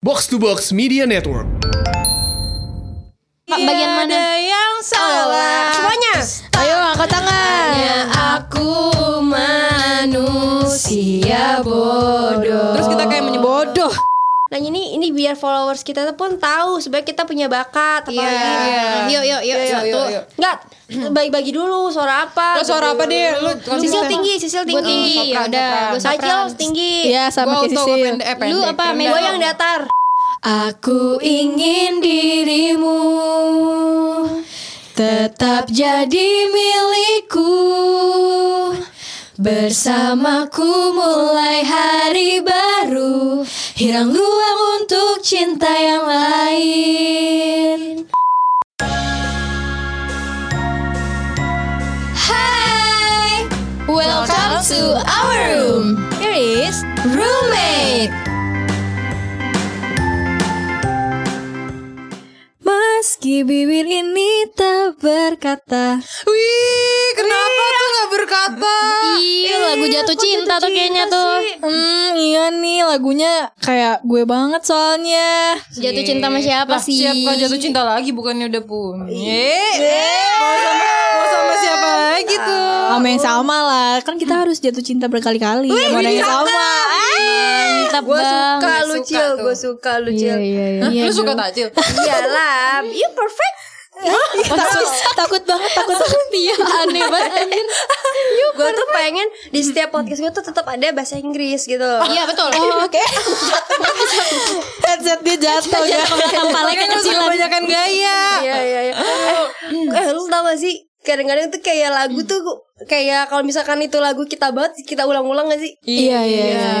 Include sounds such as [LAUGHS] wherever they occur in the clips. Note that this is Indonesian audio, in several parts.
Box to Box Media Network. Pak, bagian mana? Tiada yang salah. Semuanya. Ayo angkat tangan. aku manusia bodoh. Terus kita kayak menyebodoh. Nah ini ini biar followers kita tuh pun tahu sebenarnya kita punya bakat apa Iya. lagi. Yuk yuk yuk Iya, satu. yuk, yuk. Enggak, bagi-bagi dulu suara apa? Lo suara apa deh? Lu Sisil tinggi, Sisil tinggi. tinggi, ya yaudah, Gue gua sopran. tinggi. Iya sama kayak Sisil. Lu apa? Gue yang datar. Aku ingin dirimu tetap jadi milikku. Bersamaku mulai hari baru, hilang ruang untuk cinta yang lain. Hai, welcome to our room. Here is roommate. Meski bibir ini tak berkata Wih, kenapa Iya. tuh gak berkata? Iya, lagu jatuh cinta tuh kayaknya tuh. Hmm, iya nih lagunya kayak gue banget soalnya. Jatuh cinta sama siapa Iya. Lah, sih? Siapa jatuh cinta lagi bukannya udah Iya. punya Eh, Mau sama, mau sama siapa lagi tuh? Sama yang sama lah, kan kita harus jatuh cinta berkali-kali. Sama orang yang sama. Mantap banget. suka lu, Cil. Gua suka lu Cil. Hah, Iya, Lu suka tak [LAUGHS] Cil? Iyalah, you perfect. Takut, takut banget, takut banget dia. Aneh banget anjir. Gue tuh pengen di setiap podcast gue tuh tetap ada bahasa Inggris gitu. Iya betul Oh, [LAUGHS] Oke. Headset dia jatuh ya. Palanya kecilan Kebanyakan gaya Iya iya iya. Eh, eh, lu tau gak sih? Kadang-kadang tuh kayak lagu tuh gu- kayak kalau misalkan itu lagu kita banget kita ulang-ulang gak sih? Iya, iya, iya.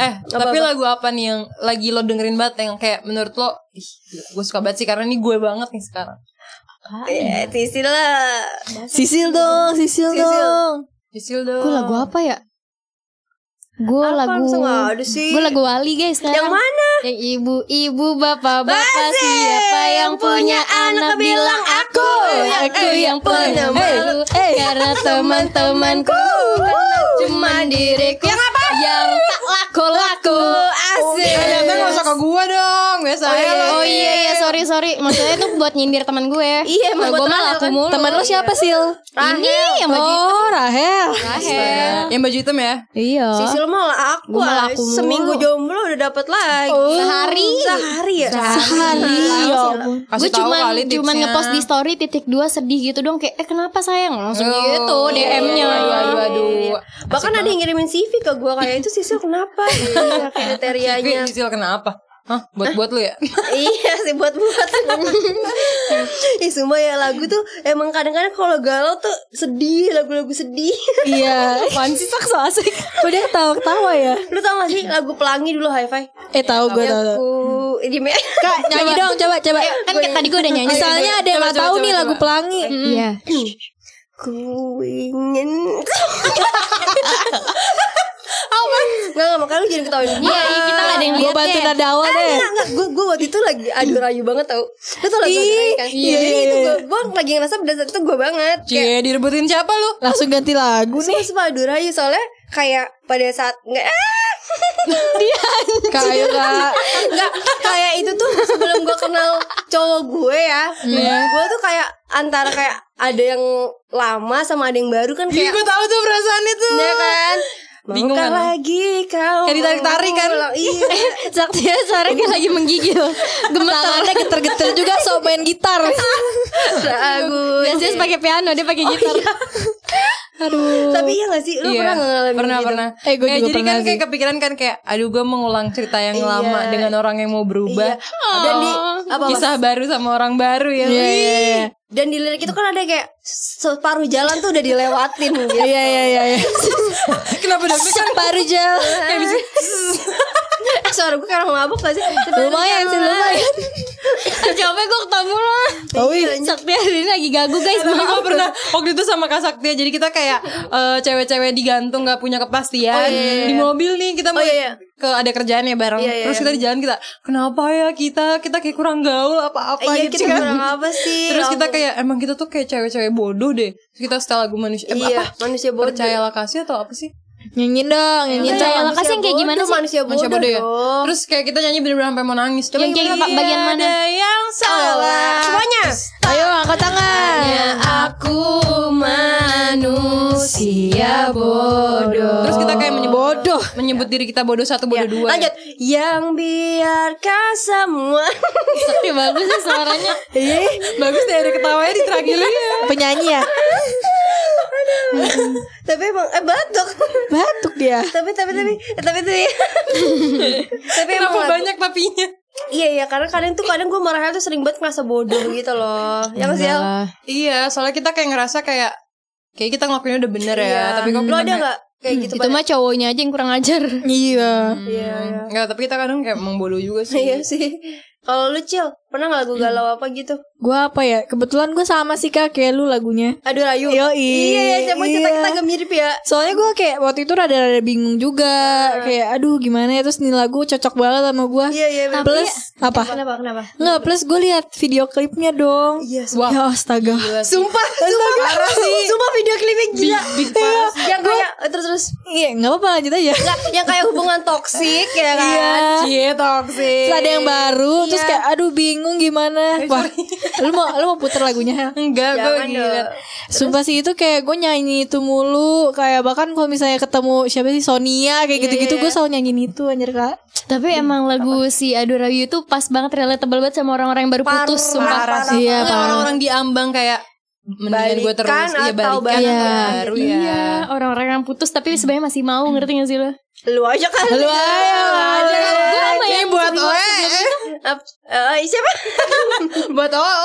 Eh tapi lagu apa nih yang lagi lo dengerin banget yang kayak menurut lo Ih gila, gue suka banget sih karena ini gue banget nih sekarang Ya, sisi lah. Sisil dong, sisil, Sisil. dong. Sisil dong Gue lagu apa ya? Gue Apa lagu langsung nggak ada sih? Gue lagu Wali guys kan? sekarang. Yang mana? Yang ibu-ibu bapak-bapak siapa yang punya anak bilang aku Aku yang punya malu Karena teman-temanku karena Cuma diriku Ya, Yang apa? Yang tak laku-laku Asik. Ternyata gak usah ke gue dong Oh Biasanya iya, lo oh iya, iya, sorry, sorry Maksudnya itu buat nyindir teman gue Iya, emang Nah, buat gue teman malah lo aku kan? mulu Iya. Temen lu siapa, Sil? Ini ya, yang baju Oh, Rahel. Rahel Yang baju hitam ya Iya Sisi lu malah aku, Gua malah ah. aku mulu. Oh. seminggu jomblo udah dapat lagi. Sehari. Sehari ya. Sehari. Ya ampun. gue Kasih tahu cuman kali cuman tipsnya. ngepost di story titik dua sedih gitu dong kayak eh kenapa sayang langsung gitu Oh, DM-nya Aduh aduh Iya, aduh Bahkan ada yang ngirimin CV ke gue kayak itu Sisil [LAUGHS] kenapa? Iya, kriterianya. Sisil kenapa? Hah, buat-buat lu ya? iya sih buat buat Ih sumpah ya lagu tuh emang kadang-kadang kalau galau tuh sedih lagu-lagu sedih Iya. Apaan sih sok so asik. Udah tawa-tawa ya. lu tau gak sih lagu pelangi dulu high five Eh tahu Iya. gue tahu. tahu. aku di me- [LAUGHS] Kak, nyanyi dong coba coba. kan kayak tadi gue udah nyanyi Misalnya ada yang Coba, nggak coba, tahu coba, nih coba. lagu pelangi. iya ku ingin Gak, gak, makanya lu jangan ketawain gue iya iya, kita gak ada yang Gue lihat bantu deh. nada Eh, awal deh. Enggak, enggak, gue, gue waktu itu lagi adu rayu banget tau Lu tau lagu adu rayu kan? iya, Jadi iya, itu iya. gue, gue lagi ngerasa pada saat itu gue banget Kayak Cie, direbutin siapa lu? Langsung ganti lagu nih. Sumpah, sumpah adu rayu soalnya kayak pada saat nggak ah! [LAUGHS] Kayu kak. Enggak, kayak itu tuh sebelum gue kenal cowok gue ya Gue tuh kayak antara kayak ada yang lama sama ada yang baru kan Ih, kayak gue tahu tuh perasaan itu. Ya kan Iya, Bingung Maukah kan? lagi kau Kayak ditarik-tarik kan? mengulang- Iya Saktia suara dia lagi menggigil Tangannya geter-geter juga sok main gitar. ragu biasanya pakai piano dia pakai gitar Oh, iya. Tapi iya gak sih? Lu Iya, pernah gak ngalamin pernah gitu? pernah. Eh, gue juga jadi pernah kan kayak sih. kepikiran kan kayak, aduh gue mengulang cerita yang Iya. lama dengan orang yang mau Iya berubah, Dan di apa, Mas? kisah baru sama orang baru ya. Iya Wih. iya iya. Dan di lirik itu kan ada kayak Separuh jalan tuh udah dilewatin gitu Iya iya iya. iya. Kenapa dong? Kan Separuh jalan. [LAUGHS] Eh suara gue karena mabuk gak sih? Iya, Lumayan sih lumayan. coba gue ketemu lah Oh iya. Saktia hari ini lagi gagu guys Tapi maaf gue pernah waktu itu sama Kak Saktia Jadi kita kayak eh, cewek-cewek digantung gak punya kepastian Oh, Di mobil nih kita mau iya, iya. ke ada kerjaan ya bareng Iya, iya, Terus kita di jalan kita Kenapa ya kita kita kayak kurang gaul apa-apa Iya gitu kita kan. kurang apa sih? Terus kita Ampun. kayak emang kita tuh kayak cewek-cewek bodoh deh. Terus kita setel lagu manusia eh, Iya, apa? manusia bodoh. Percayalah kasih atau apa sih? Nyanyiin dong, nyanyiin Cinta yang dong. lekas yang kayak gimana bodoh, sih? Manusia bodoh, Manusia bodoh ya. dong. Terus kayak kita nyanyi bener-bener sampai mau nangis. Coba Yang kayak gimana? bagian mana? Ada yang salah. Salah. Semuanya. Ayo angkat tangan. Aku manusia bodoh. Terus kita kayak menyebut Bodoh. menyebut diri kita bodoh satu bodoh dua. Ya, ya? [LAUGHS] Lanjut. Yang biarkan semua. Tapi bagus ya sih suaranya. Bagus deh ada ketawanya di terakhir. [LAUGHS] Penyanyi ya. tapi emang eh batuk. Batuk dia. tapi tapi tapi eh, tapi tapi tapi emang Kenapa lagu- banyak tapinya? iya iya karena kadang tuh kadang gue marahnya tuh sering banget ngerasa bodoh gitu loh ya nggak sih El? Iya, soalnya kita kayak ngerasa kayak kayak kita ngelakuin udah bener ya, tapi kok lo kita Iya, ada kayak- nggak kayak gitu Itu mah cowoknya aja yang kurang ajar. Iya. [LAUGHS] iya iya Enggak, tapi kita kadang kayak emang bodoh juga sih. [LAUGHS] iya sih kalau lu cil pernah nggak lagu galau apa gitu Gue apa ya? Kebetulan gue sama sih kak kayak lu lagunya. aduh rayu Yoi. iya ya cuma kita kita agak mirip ya Soalnya gue kayak waktu itu rada-rada bingung juga Kayak aduh gimana ya Terus ini lagu cocok banget sama gue iya iya bener. Plus apa? kenapa kenapa Nggak plus gue lihat video klipnya dong Iya, Wah. Ya astaga sumpah sumpah parah sih sumpah video klipnya gila yang kayak eh, terus terus Iya nggak apa-apa lanjut aja Nggak, yang kayak hubungan toksik ya kan Iya. Cie Iya, toxic. Terus ada yang baru Terus Iya. kayak aduh bingung gimana Wah lu mau, lu mau puter lagunya Hel? Eh, [LAUGHS] Enggak, gue Jangan lagi dong. liat. Sumpah sih itu kayak gue nyanyi itu mulu Kayak bahkan kalau misalnya ketemu siapa sih Sonia Iya, Kayak gitu-gitu gue selalu nyanyiin itu anjir kak Tapi emang lagu si Adu Rayu itu pas banget relatable banget sama orang-orang yang baru Parah, putus sumpah. parah, parah. Iya, Enggak, parah. orang-orang di ambang kayak mendingan gue terus Balikan iya balikan atau balikan. atau baru ya. Iya, orang-orang yang putus tapi sebenarnya masih mau ngerti gak sih lo? lu aja kan Lu ayo aja Ini Gue sama yang Iya, buat sebelum- oe. Ap- eh, siapa Buat oe.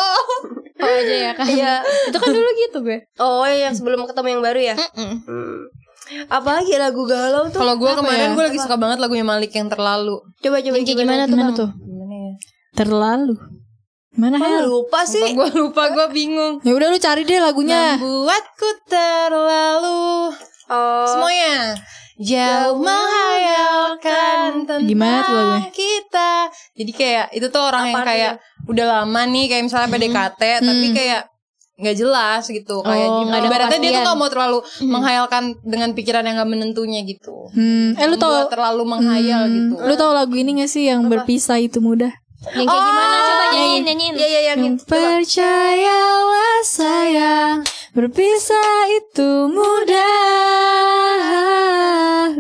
Oh aja ya kan. Iya. Itu kan dulu gitu gue. Oh yang sebelum ketemu yang baru ya? Hmm. Apalagi lagu galau tuh? Kalau gue kemarin gue lagi suka banget lagunya Malik yang terlalu. Coba coba Yang kayak gimana tuh? Gimana Bang? tuh? Gimana ya? Terlalu Mana Kok Hel? lupa sih. Gue lupa, gue bingung. Ya udah lu cari deh lagunya Buatku terlalu Oh, semuanya jauh menghayalkan tentang Gimana tuh lagunya? kita. Jadi kayak itu tuh orang yang kayak udah lama nih kayak misalnya PDKT tapi kayak nggak jelas gitu kayak gimana. Oh, nggak ada Ibaratnya dia tuh kepastian. nggak mau terlalu menghayalkan dengan pikiran yang nggak menentunya gitu. Hmm, eh lu Buat tau terlalu menghayal gitu. Lu tau lagu ini gak sih yang berpisah itu mudah? Yang kayak gimana coba nyanyiin nyanyiin. Iya iya yang gitu. Percayalah sayang, berpisah itu mudah.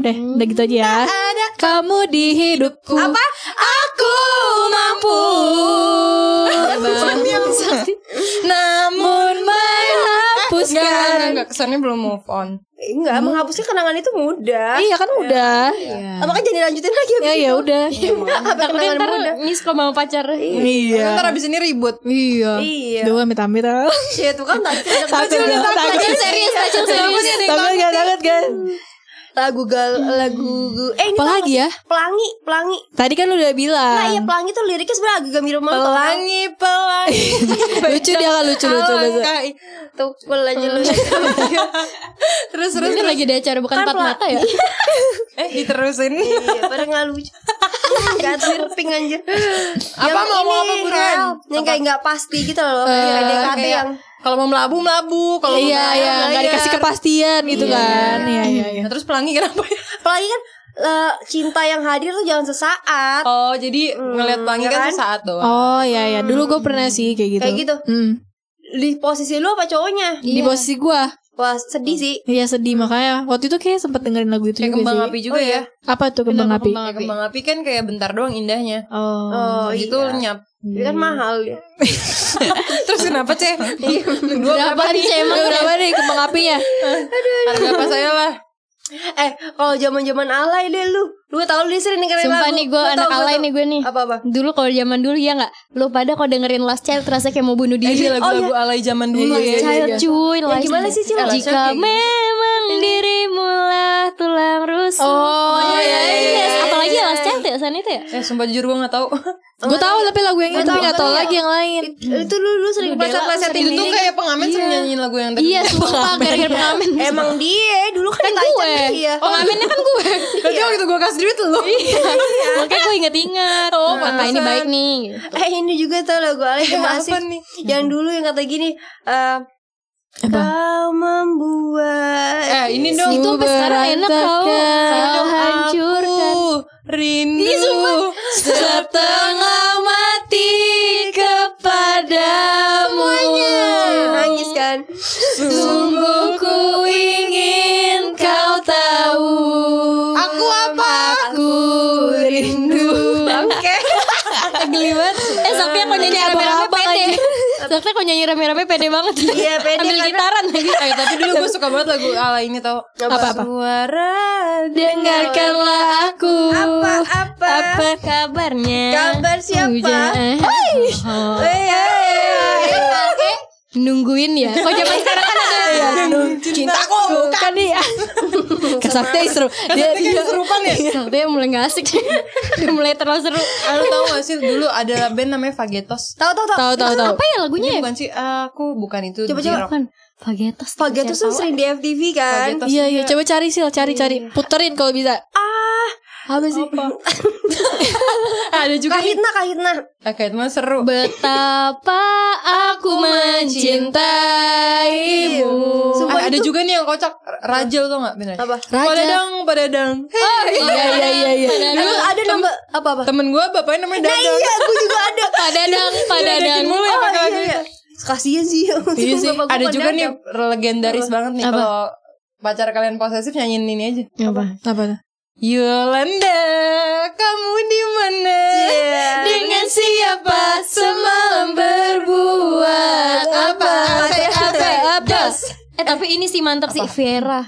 Udah, udah gitu aja ya. Ada kamu di hidupku. Apa? Aku mampu. Iya, Namun Enggak, enggak, menghapuskan. enggak, kesannya belum move on. Eh, Enggak, menghapusnya kenangan itu mudah. Iya kan udah. Apa kan jadi lanjutin lagi Ya ya udah. Apa kenangan Ntar mudah? miskom sama pacar. Iya. Ntar abis ini ribut. Iya. Iya. Duh, amit-amit. ah. Shit, tuh kan tadi ada Takut, takut. Pacar serius, pacar serius. Takut gak, takut gak? lagu gal lagu eh ini tahu Apalagi ya? nggak sih? Pelangi, pelangi. Tadi kan lu udah bilang. Nah, iya pelangi tuh liriknya sebenarnya agak gembira banget. tau nggak? Pelangi, pelangi. lucu dia kan lucu lucu lucu Alangkah Tuh, pelangi lu. terus terus Ini lagi ada acara bukan empat mata ya? eh diterusin Iya, pada nggak lucu. Gatir ping anjir. Apa, mau ngomong apa, buruan? Hel, Yang kayak nggak pasti gitu loh. Kayak PDKT Kayak yang kalau mau melabu melabu kalau mau iya belayar, iya nggak belayar. dikasih kepastian gitu kan iya iya iya Nah, terus pelangi kenapa [LAUGHS] ya apalagi kan eh, cinta yang hadir tuh jangan sesaat. oh jadi ngelihat pelangi ya kan kan? sesaat doang Hmm, oh iya iya dulu gue pernah sih kayak gitu Kayak gitu. Hmm. Di posisi lu apa cowoknya? di posisi gue Wah, sedih sih. iya sedih makanya waktu itu kayak sempet dengerin lagu itu kayak juga kembang iya sih Oh, api juga ya apa tuh kembang api Kayak kembang api kan kayak bentar doang indahnya oh Oh, itu iya. lenyap Dia kan mahal ya. [LAUGHS] terus kenapa [LAUGHS] ceh Iya. dua Berapa nih Cem? emang? berapa nih kembang apinya harga apa saya lah [LAUGHS] Eh, kalau zaman-zaman alay deh lu. Lu tau lu sering dengerin Sumpah lagu. nih gue Lu anak tau, gua alay tau. nih gue nih. Apa-apa? Dulu kalau zaman dulu ya nggak, lu pada kalau dengerin Last Child terasa kayak mau bunuh Iya, ini diri. oh, lagu-lagu alay zaman dulu Last ya Child cuy, Last gimana sih, Cil? Eh, Last Jika Child kayak memang dirimu lah tulang rusuk. oh iya iya iya. Yes, apalagi Last Child ya saat itu ya. eh sumpah jujur gue gak tahu gue iya. tahu tapi lagu yang itu nggak tahu lagi yang lain Itu lu lu sering pleset-plesetin itu tuh diri. kayak iya. pengamen sering nyanyiin lagu yang tadi Iya, sumpah gara-gara [LAUGHS] pengamen. Emang dia dulu kan kan ditanya gue. dia. Oh, Pengamennya kan gue. berarti waktu gue kasih duit lu Iya. Makanya gue inget-inget. Oh, nah, ini baik nih. Eh ini juga tau lagu Alay Iya, apa Masif nih? Yang dulu yang kata gini eh Kau membuat Eh ini dong Itu sampai sekarang enak tau Kau hancurkan Rindu Setengah mati Kepadamu Iya. nangis kan Sungguh ku ingin Kau tahu Aku apa? Aku rindu Oke Eh Sofia kok nyanyi rame-rame abang-abang pede [LAUGHS] Sofia kok nyanyi rame-rame pede banget Iya pede Ambil karena gitaran lagi Eh [LAUGHS] tapi dulu gue suka banget lagu ala ini tau Apa-apa? Suara Dengarkanlah aku Apa apa Apa kabarnya Kabar siapa? Hujan. eh. Hei, hei, hei. Nungguin ya Kok zaman sekarang kan ada Cintaku Bukan dia Kesakti seru. Dia Kayak serupan ya Sofia Iya. mulai gak asik [LAUGHS] Dia mulai terlalu seru Ah, Lu tau gak sih dulu ada band namanya Fagetos Tahu tahu tahu tahu tahu tahu. Apa ya lagunya Ini ya? bukan sih ah, aku bukan itu Coba, coba. J-Rock. Bukan Iya. Fagetos Pagetos tuh sering di FTV kan Fagetos Iya iya juga. coba cari sil cari cari puterin kalau bisa. Ah apa sih? ada juga nih. Kahitna Kahitna Oke, teman seru. Betapa aku mencintaimu Ah, ada juga nih yang kocak Rajel tuh gak bener Apa? Rajel. Padadang Padadang Oh iya iya iya Dulu ada nama apa apa Eh, Temen gue bapaknya namanya Dadang Iya aku juga [LAUGHS] ada Padadang Diajakin Padadang mulu ya pakai Oh, lagu iya, itu. iya. Kasian sih ya, Iya sih. Bapak gua Ada juga padahal nih legendaris banget nih Apa? kalau pacar kalian posesif nyanyiin ini aja. Apa? Apa? Yolanda, kamu di mana? Dengan siapa semalam berbuat apa? Apa? Apa? Apa? Eh tapi ini sih mantap sih Vera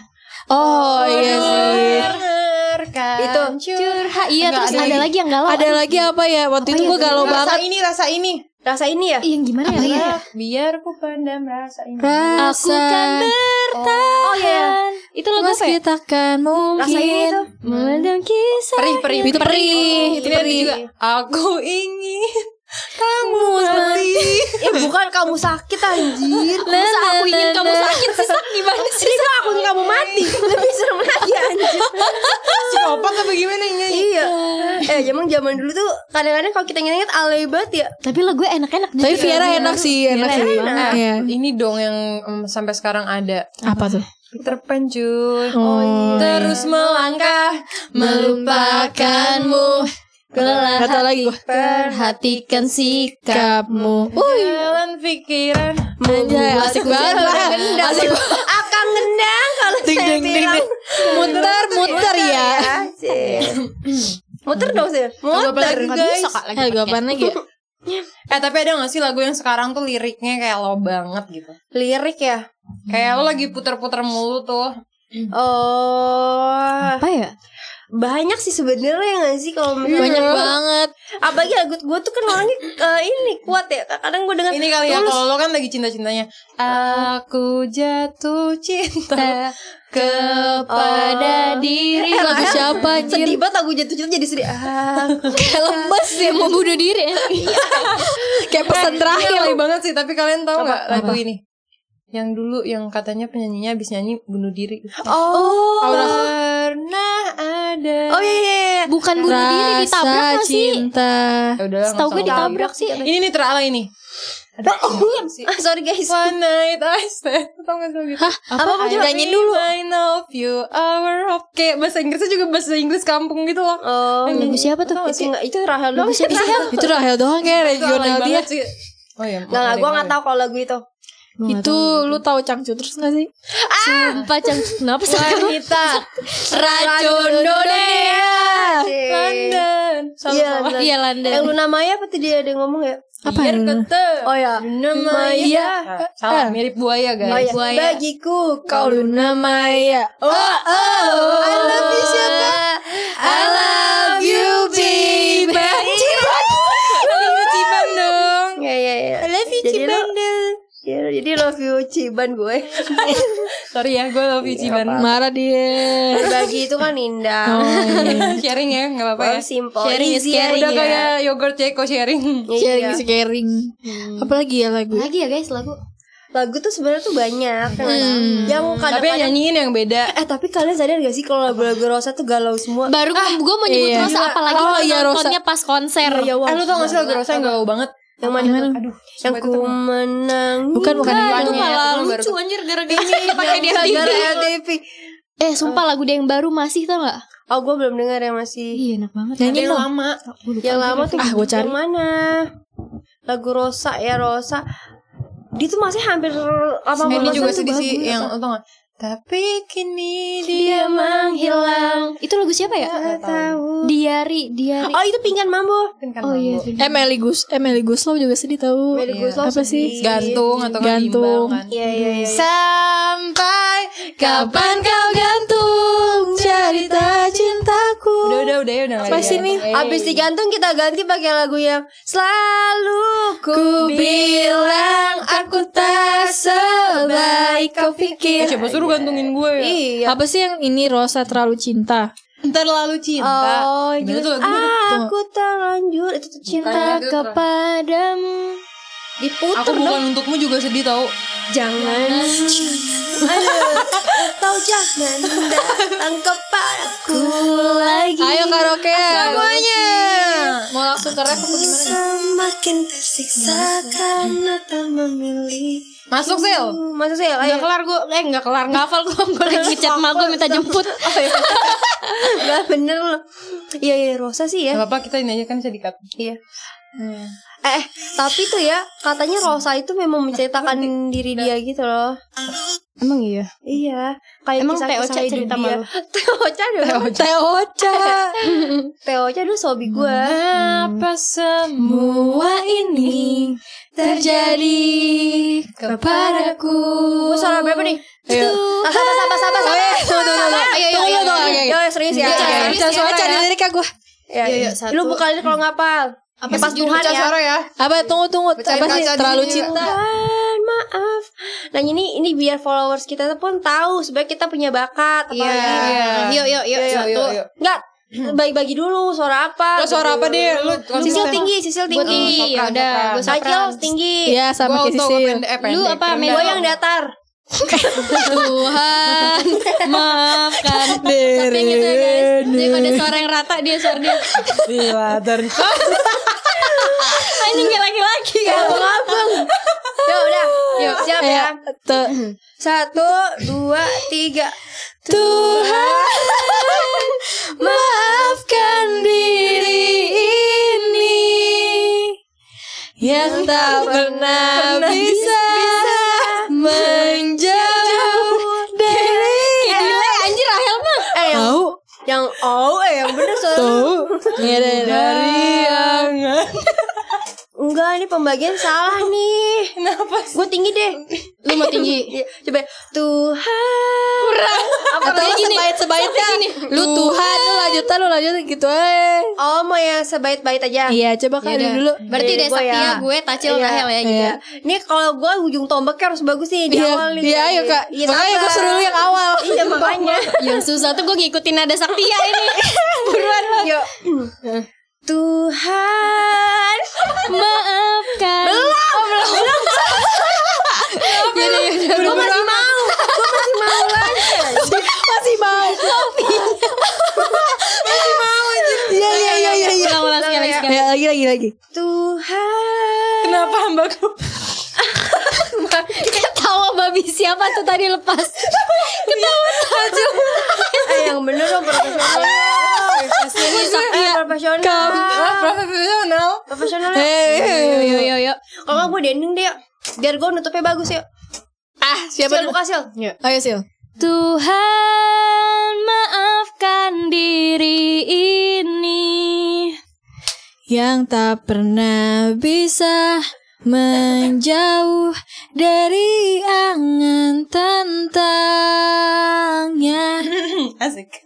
Oh iya sih. Dengarkan Itu. Curhat Iya Enggak, terus ada ada, lagi. lagi yang galau Ada lagi apa ya? Waktu itu gue galau rasa banget. ini rasa ini Rasa ini ya Ih, Yang gimana ya? Vera? biar ku pandam rasa ini Aku kan Rasa bertahan Oh iya Itu lagu Mas apa ya? kita kan Rasa ini mungkin. tuh Meledam kisah perih perih Itu perih. ini kan ada juga aku ingin kamu mati Ya bukan kamu sakit anjir Masa aku ingin kamu sakit sih Sak? Gimana sih Itu aku ingin kamu mati [LAUGHS] Lebih serem lagi anjir psikopat apa gimana yang nyanyi Iya Eh emang zaman dulu tuh Kadang-kadang kalau kita inget-inget alay banget ya Tapi lagu enak-enak Tapi juga. Viera enak sih, enak Viera sih. enak. Iya. ini dong yang em, sampai sekarang ada Apa tuh? terpencul Oh. terus melangkah melupakanmu Kelelahan Gak tau lagi gue. Perhatikan sikap Kapmu. jalan pikiran Anjay, Oh, iya, asik banget. lah. Gendang Asik lu. Akan gendang Kalau Ding, saya ding, ding, bilang ding. Muter, muter ya. Asik. Muter dong sih Coba Muter pelajarin guys bisa, Kak, lagi Eh, gue pakai. apaan lagi ya? [LAUGHS] eh tapi ada gak sih lagu yang sekarang tuh liriknya kayak lo banget gitu Lirik ya kayak lo lagi puter-puter mulu tuh Oh Apa ya? Banyak sih sebenarnya gak sih Kalau misalnya Banyak Iya. banget. Apalagi lagu gue tuh kan orangnya eh, Ini kuat ya Kadang gue denger Ini kali ya tulus. kalau lo kan lagi cinta-cintanya Aku jatuh cinta Kepada diri Eh, Lagu Kadang siapa anjir? Sedih banget lagu jatuh cinta jadi sedih ah, Kayak lemes ya Mau bunuh diri ya Kayak pesan Ini terakhir. alay banget sih Tapi kalian tahu nggak lagu ini Yang dulu yang katanya penyanyinya abis nyanyi bunuh diri Oh Pernah ada Oh iya iya iya. [LAUGHS] Bukan bunuh diri Ditabrak Rasa gak sih? cinta. Ya udah lah, Setahu gue nggak usah ditabrak sih ngomong. Ini nih teralay ini Ah, Sorry guys One night I stand Tau gak sih lagu itu? Hah? Apa? Apa? I Coba nyanyiin dulu I know you our hope Kayak bahasa Inggrisnya juga bahasa Inggris kampung gitu loh Oh Yang Lagu nyanyi. siapa tuh? Itu enggak itu Rahel dong Siapa Itu Rahel doang ya, Itu alay regional dia. banget sih. Oh iya Enggak enggak gue makanya. enggak tahu kalau lagu itu Itu lu tahu Cangcu terus gak sih? Sumpah Cang Kenapa sih? Wanita Racun London Iya, Sama-sama London. Iya London Yang Luna Maya apa tadi ada yang ngomong ya Apa Biar ya? kete Oh ya Namanya Ah, Salah mirip buaya Oh guys ya Bagiku kau Luna Maya. Oh oh I love you siapa I love you, baby. Ciban dong Ya ya ya I love you Ciban Jadi love you Ciban gue Sorry ya gue love you Ciban Marah dia. Berbagi itu kan indah Sharing ya gak apa-apa ya Well, simple Sharing is Easy caring Udah aja. kayak yogurt Ceko sharing Iya. Sharing is caring. Apalagi ya lagu? Lagi ya guys lagu lagu tuh sebenarnya tuh banyak ya nggak sih? Tapi yang yang kadang-kadang nyanyiin yang beda eh tapi kalian sadar gak sih kalau lagu-lagu Rosa tuh galau semua Baru gue mau nyebut iya. Rosa Iya, Apalagi Oh, iya, Rosa. nontonnya pas konser ya, ya, wah, Eh lu tau gak sih gila. lagu Rosa yang galau banget Yang mana? Aduh, yang ku menang. Bukan bukan Itu yang malah lucu anjir gara-gara ini Iya. pakai di FTV. LTV. Eh sumpah lagu dia yang baru masih tau gak? Oh, gue belum dengar yang masih. Iya enak banget Nyanyi Yang dong. lama Yang lama tuh. Ah, gua cari. Yang mana? Lagu Rosa ya Rosa. Dia tuh masih hampir apa Ini juga sedih sih yang untung Tapi kini dia menghilang Itu lagu siapa ya? tahu. Diari Diari Oh, itu pingkan mambo. Kan Oh, iya mambo. Iya. Emily Eh, Gus Emily Guslow juga sedih tahu. Mary Guslow Apa sedih. sih? Gantung atau nggak Gantung. bimbang kan? Iya, iya, iya. Sampai kapan kau gantung cerita cintaku Udah udah udah ya udah Apa sih nih? Abis iya, digantung kita ganti pakai lagu yang selalu ku bilang aku tak sebaik kau pikir Coba Eh, suruh gantungin gue ya Iya. Apa sih yang ini Rosa terlalu cinta? Terlalu cinta Oh, Gila tuh lagu aku terlanjur itu tuh cinta Bukannya itu terlalu- kepadamu Aku diputer dong. bukan untukmu juga sedih tau Jangan atau jangan datang kepadaku lagi. Ayo karaoke. Semuanya Mau langsung ke ref apa gimana? Semakin tersiksa karena tak memilih. Masuk Sel Masuk sih, ayo. Kelar gue, eh nggak kelar nggak hafal gue Gue lagi ngechat mak gue minta jemput Gak bener loh. Iya, iya, Rosa sih ya. Gak apa-apa kita ini aja kan bisa di cut Iya. Eh, tapi tuh ya, katanya Rosa itu memang menceritakan diri dia gitu loh. Emang iya. Iya, kayak Emang kisah-kisah Teo Cha hidup cerita dia. malu? [LAUGHS] Teo Cha dulu. Teoca. Teo Cha dulu sobi gue. Apa semua ini terjadi kepadaku Gue suara berapa nih? Ayo. Iya. Sabar, sabar, Ah, sabar, sabar. Ayo, ayo, ayo, ayo, ayo, serius ya. Pecah, Iya, pecah suara Cari ya. iya. Iya, iya, Lu buka aja kalau ngapal. Apa pas Tuhan Pecah ya? suara ya Apa tunggu tunggu apa sih kaca terlalu dulu. cinta? Tuhan, maaf. Nah ini ini biar followers kita tuh pun tahu sebenarnya kita punya bakat. Iya. Yuk yuk yuk Satu Enggak, Hmm. bagi-bagi dulu suara Lo apa? gitu. iya, Oh, suara apa deh? Lu Sisil tinggi, Sisil Gue tinggi. tinggi sopran, Udah sopran. gue Acil sopran tinggi. Iya sama Gua kayak auto, gua Sisil. pendek- eh, pendek, Lu apa, rendah. Gue yang datar. [LAUGHS] Tuhan Maafkan Tapi Diri. gitu ya guys Daripada suara yang rata Dia suara dia Ini kayak laki-laki Iya. Ya, abang. Ya udah, yuk siap ya. Te- Satu, dua, tiga. Tuhan, Maafkan diri ini yang tak pernah bisa menjauh dari Gila anjir Rahel mah eh yang, tahu yang oh, eh yang bener suara. tahu Iya, dari angan. Enggak, ini pembagian salah nih. [LAUGHS] Kenapa? Gue tinggi deh. Lu mau tinggi [LAUGHS] Iya, Coba Tuhan. Kurang. Apa Atau lagi? sebaik-sebaiknya Lu Tuhan Lu lanjutan Lu lanjutan gitu eh Oh, mau yang sebaik-baik aja. Iya coba kali dulu Berarti Dari deh gua Saktia ya. gue Tacil Iya. Rahel ya gitu Iya. Ini kalau gue ujung tombaknya harus bagus nih di Iya, awal nih. iya, ayo, Kak. Iya, Makanya sabar. gua suruh lu yang awal. Iya [LAUGHS] makanya. Yang susah tuh gue ngikutin nada Saktia ini Yuk. [LAUGHS] Tuhan. [LAUGHS] [LAUGHS] Maafkan Gue masih mau. Gue masih mau lagi. Masih mau Iya iya iya iya iya Ulang-ulang sekali sekali Ya, iya, lagi lagi lagi Tuhan. Kenapa hambaku? Ketawa babi siapa tuh tadi lepas Ketawa Tacil Eh yang bener dong profesional. Ini Saktia Eh, profesional. Profesional eh, Profesional. Eh, eh, eh, eh. Yo yo yo Kalau nggak gue dending deh yuk. Biar gue nutupnya bagus yuk. Ah siapa Sil dulu buka sil. Ayo Sil Tuhan maafkan diri ini yang tak pernah bisa menjauh dari angan tentangnya. Asik [LAUGHS]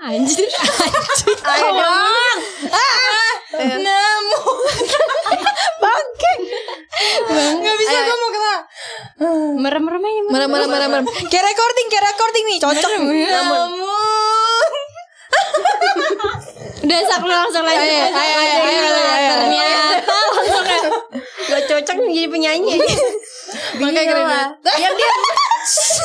Anjir [LAUGHS] Eh. Ayo dong. Ah. Nemu [LAUGHS] Bangke Gak bisa gue mau kena Merem-merem aja merem. Merem, merem, merem, merem. Kayak recording, kayak recording nih, cocok. Nemu Udah sak lu langsung lanjut Ayo, Langsung ayo, lanjut. ayo, ayo, ayo. Ternyata langsung lanjut. Gak cocok nih jadi penyanyi. Makanya keren Gila. banget Diam diam.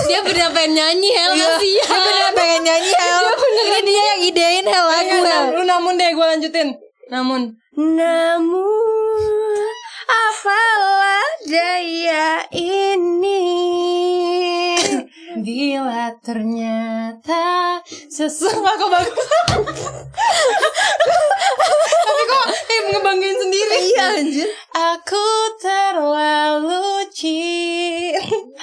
Dia beneran pengen nyanyi Hel masih ya Iya. Dia beneran pengen nyanyi Hel. Ini dia yang idein Hel lagu Ayo, Hel. Nam, Lu namun deh gue lanjutin Namun Namun apalah daya ini Bila ternyata sesuatu aku bagus. Tapi kok eh, ngebanggain sendiri. Iya anjir. Aku terlalu cinta.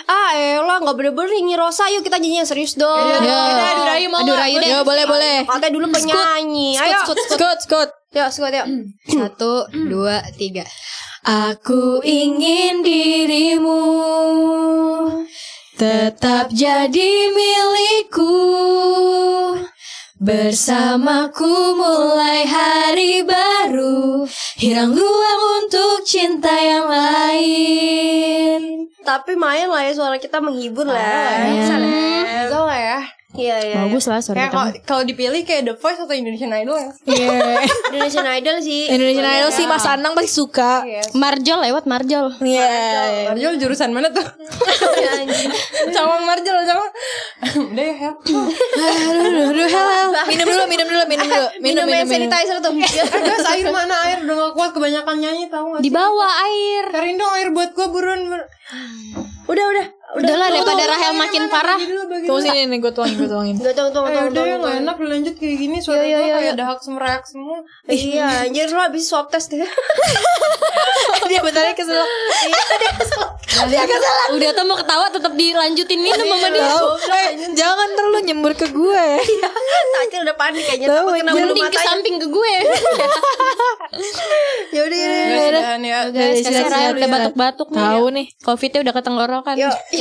Ah elah gak bener-bener nyanyi Rosa Yuk kita nyanyi yang serius dong Eh, Iya. Kita adu rayu mau Aduh nggak? rayu deh. Ya boleh boleh. Katanya dulu penyanyi Ayo Skut, skut, Skut skut. Yuk Skut yuk Satu, dua, tiga. Aku ingin dirimu tetap jadi milikku. Bersamaku mulai hari baru Hirang luang untuk cinta yang lain Tapi main lah ya suara kita menghibur lah Iya. Bisa lah. Bisa lah ya. Iya iya Bagus lah suara Kayak kamu kalau kalau dipilih kayak The Voice atau Indonesian Idol ya. iya. Yeah. Indonesian Idol sih Indonesian Idol sih Mas Anang pasti suka. Iya. Marjol lewat Marjol Iya. Marjol jurusan mana tuh? sama Marjol sama. Udah ya, Hel. Aduh, aduh, helal. Minum dulu, minum dulu, minum dulu. Minum, Minum hand sanitizer tuh Eh, guys, air mana air udah gak kuat kebanyakan nyanyi tahu gak? Di bawah air Karin dong air buat gue buruan. bur- Udah udah Udahlah daripada Rahel makin parah Bagi dulu, bagi Tunggu sini nih, gue tuangin, gue tuangin. Gak tau tau Eh tau udah ya gak enak lanjut kayak gini Suara Iya, gue iya, kayak iya. dahak semerayak semua Iya anjir lo abis swab test ya. deh Dia bentarnya keselak. Udah, [LAUGHS] Udah tuh mau ketawa tetap dilanjutin minum sama dia Tahu. Eh, jangan terlalu nyembur ke gue. Tajil udah panik kayaknya Tahu, Takut kena anjir. bulu Nah, Mending ke matanya samping ke gue Yaudah yaudah Gak sudahan ya Guys kasih Silakan, Rahel udah silakan. batuk-batuk nih Tahu nih. Covidnya udah ketenggorokan Yuk,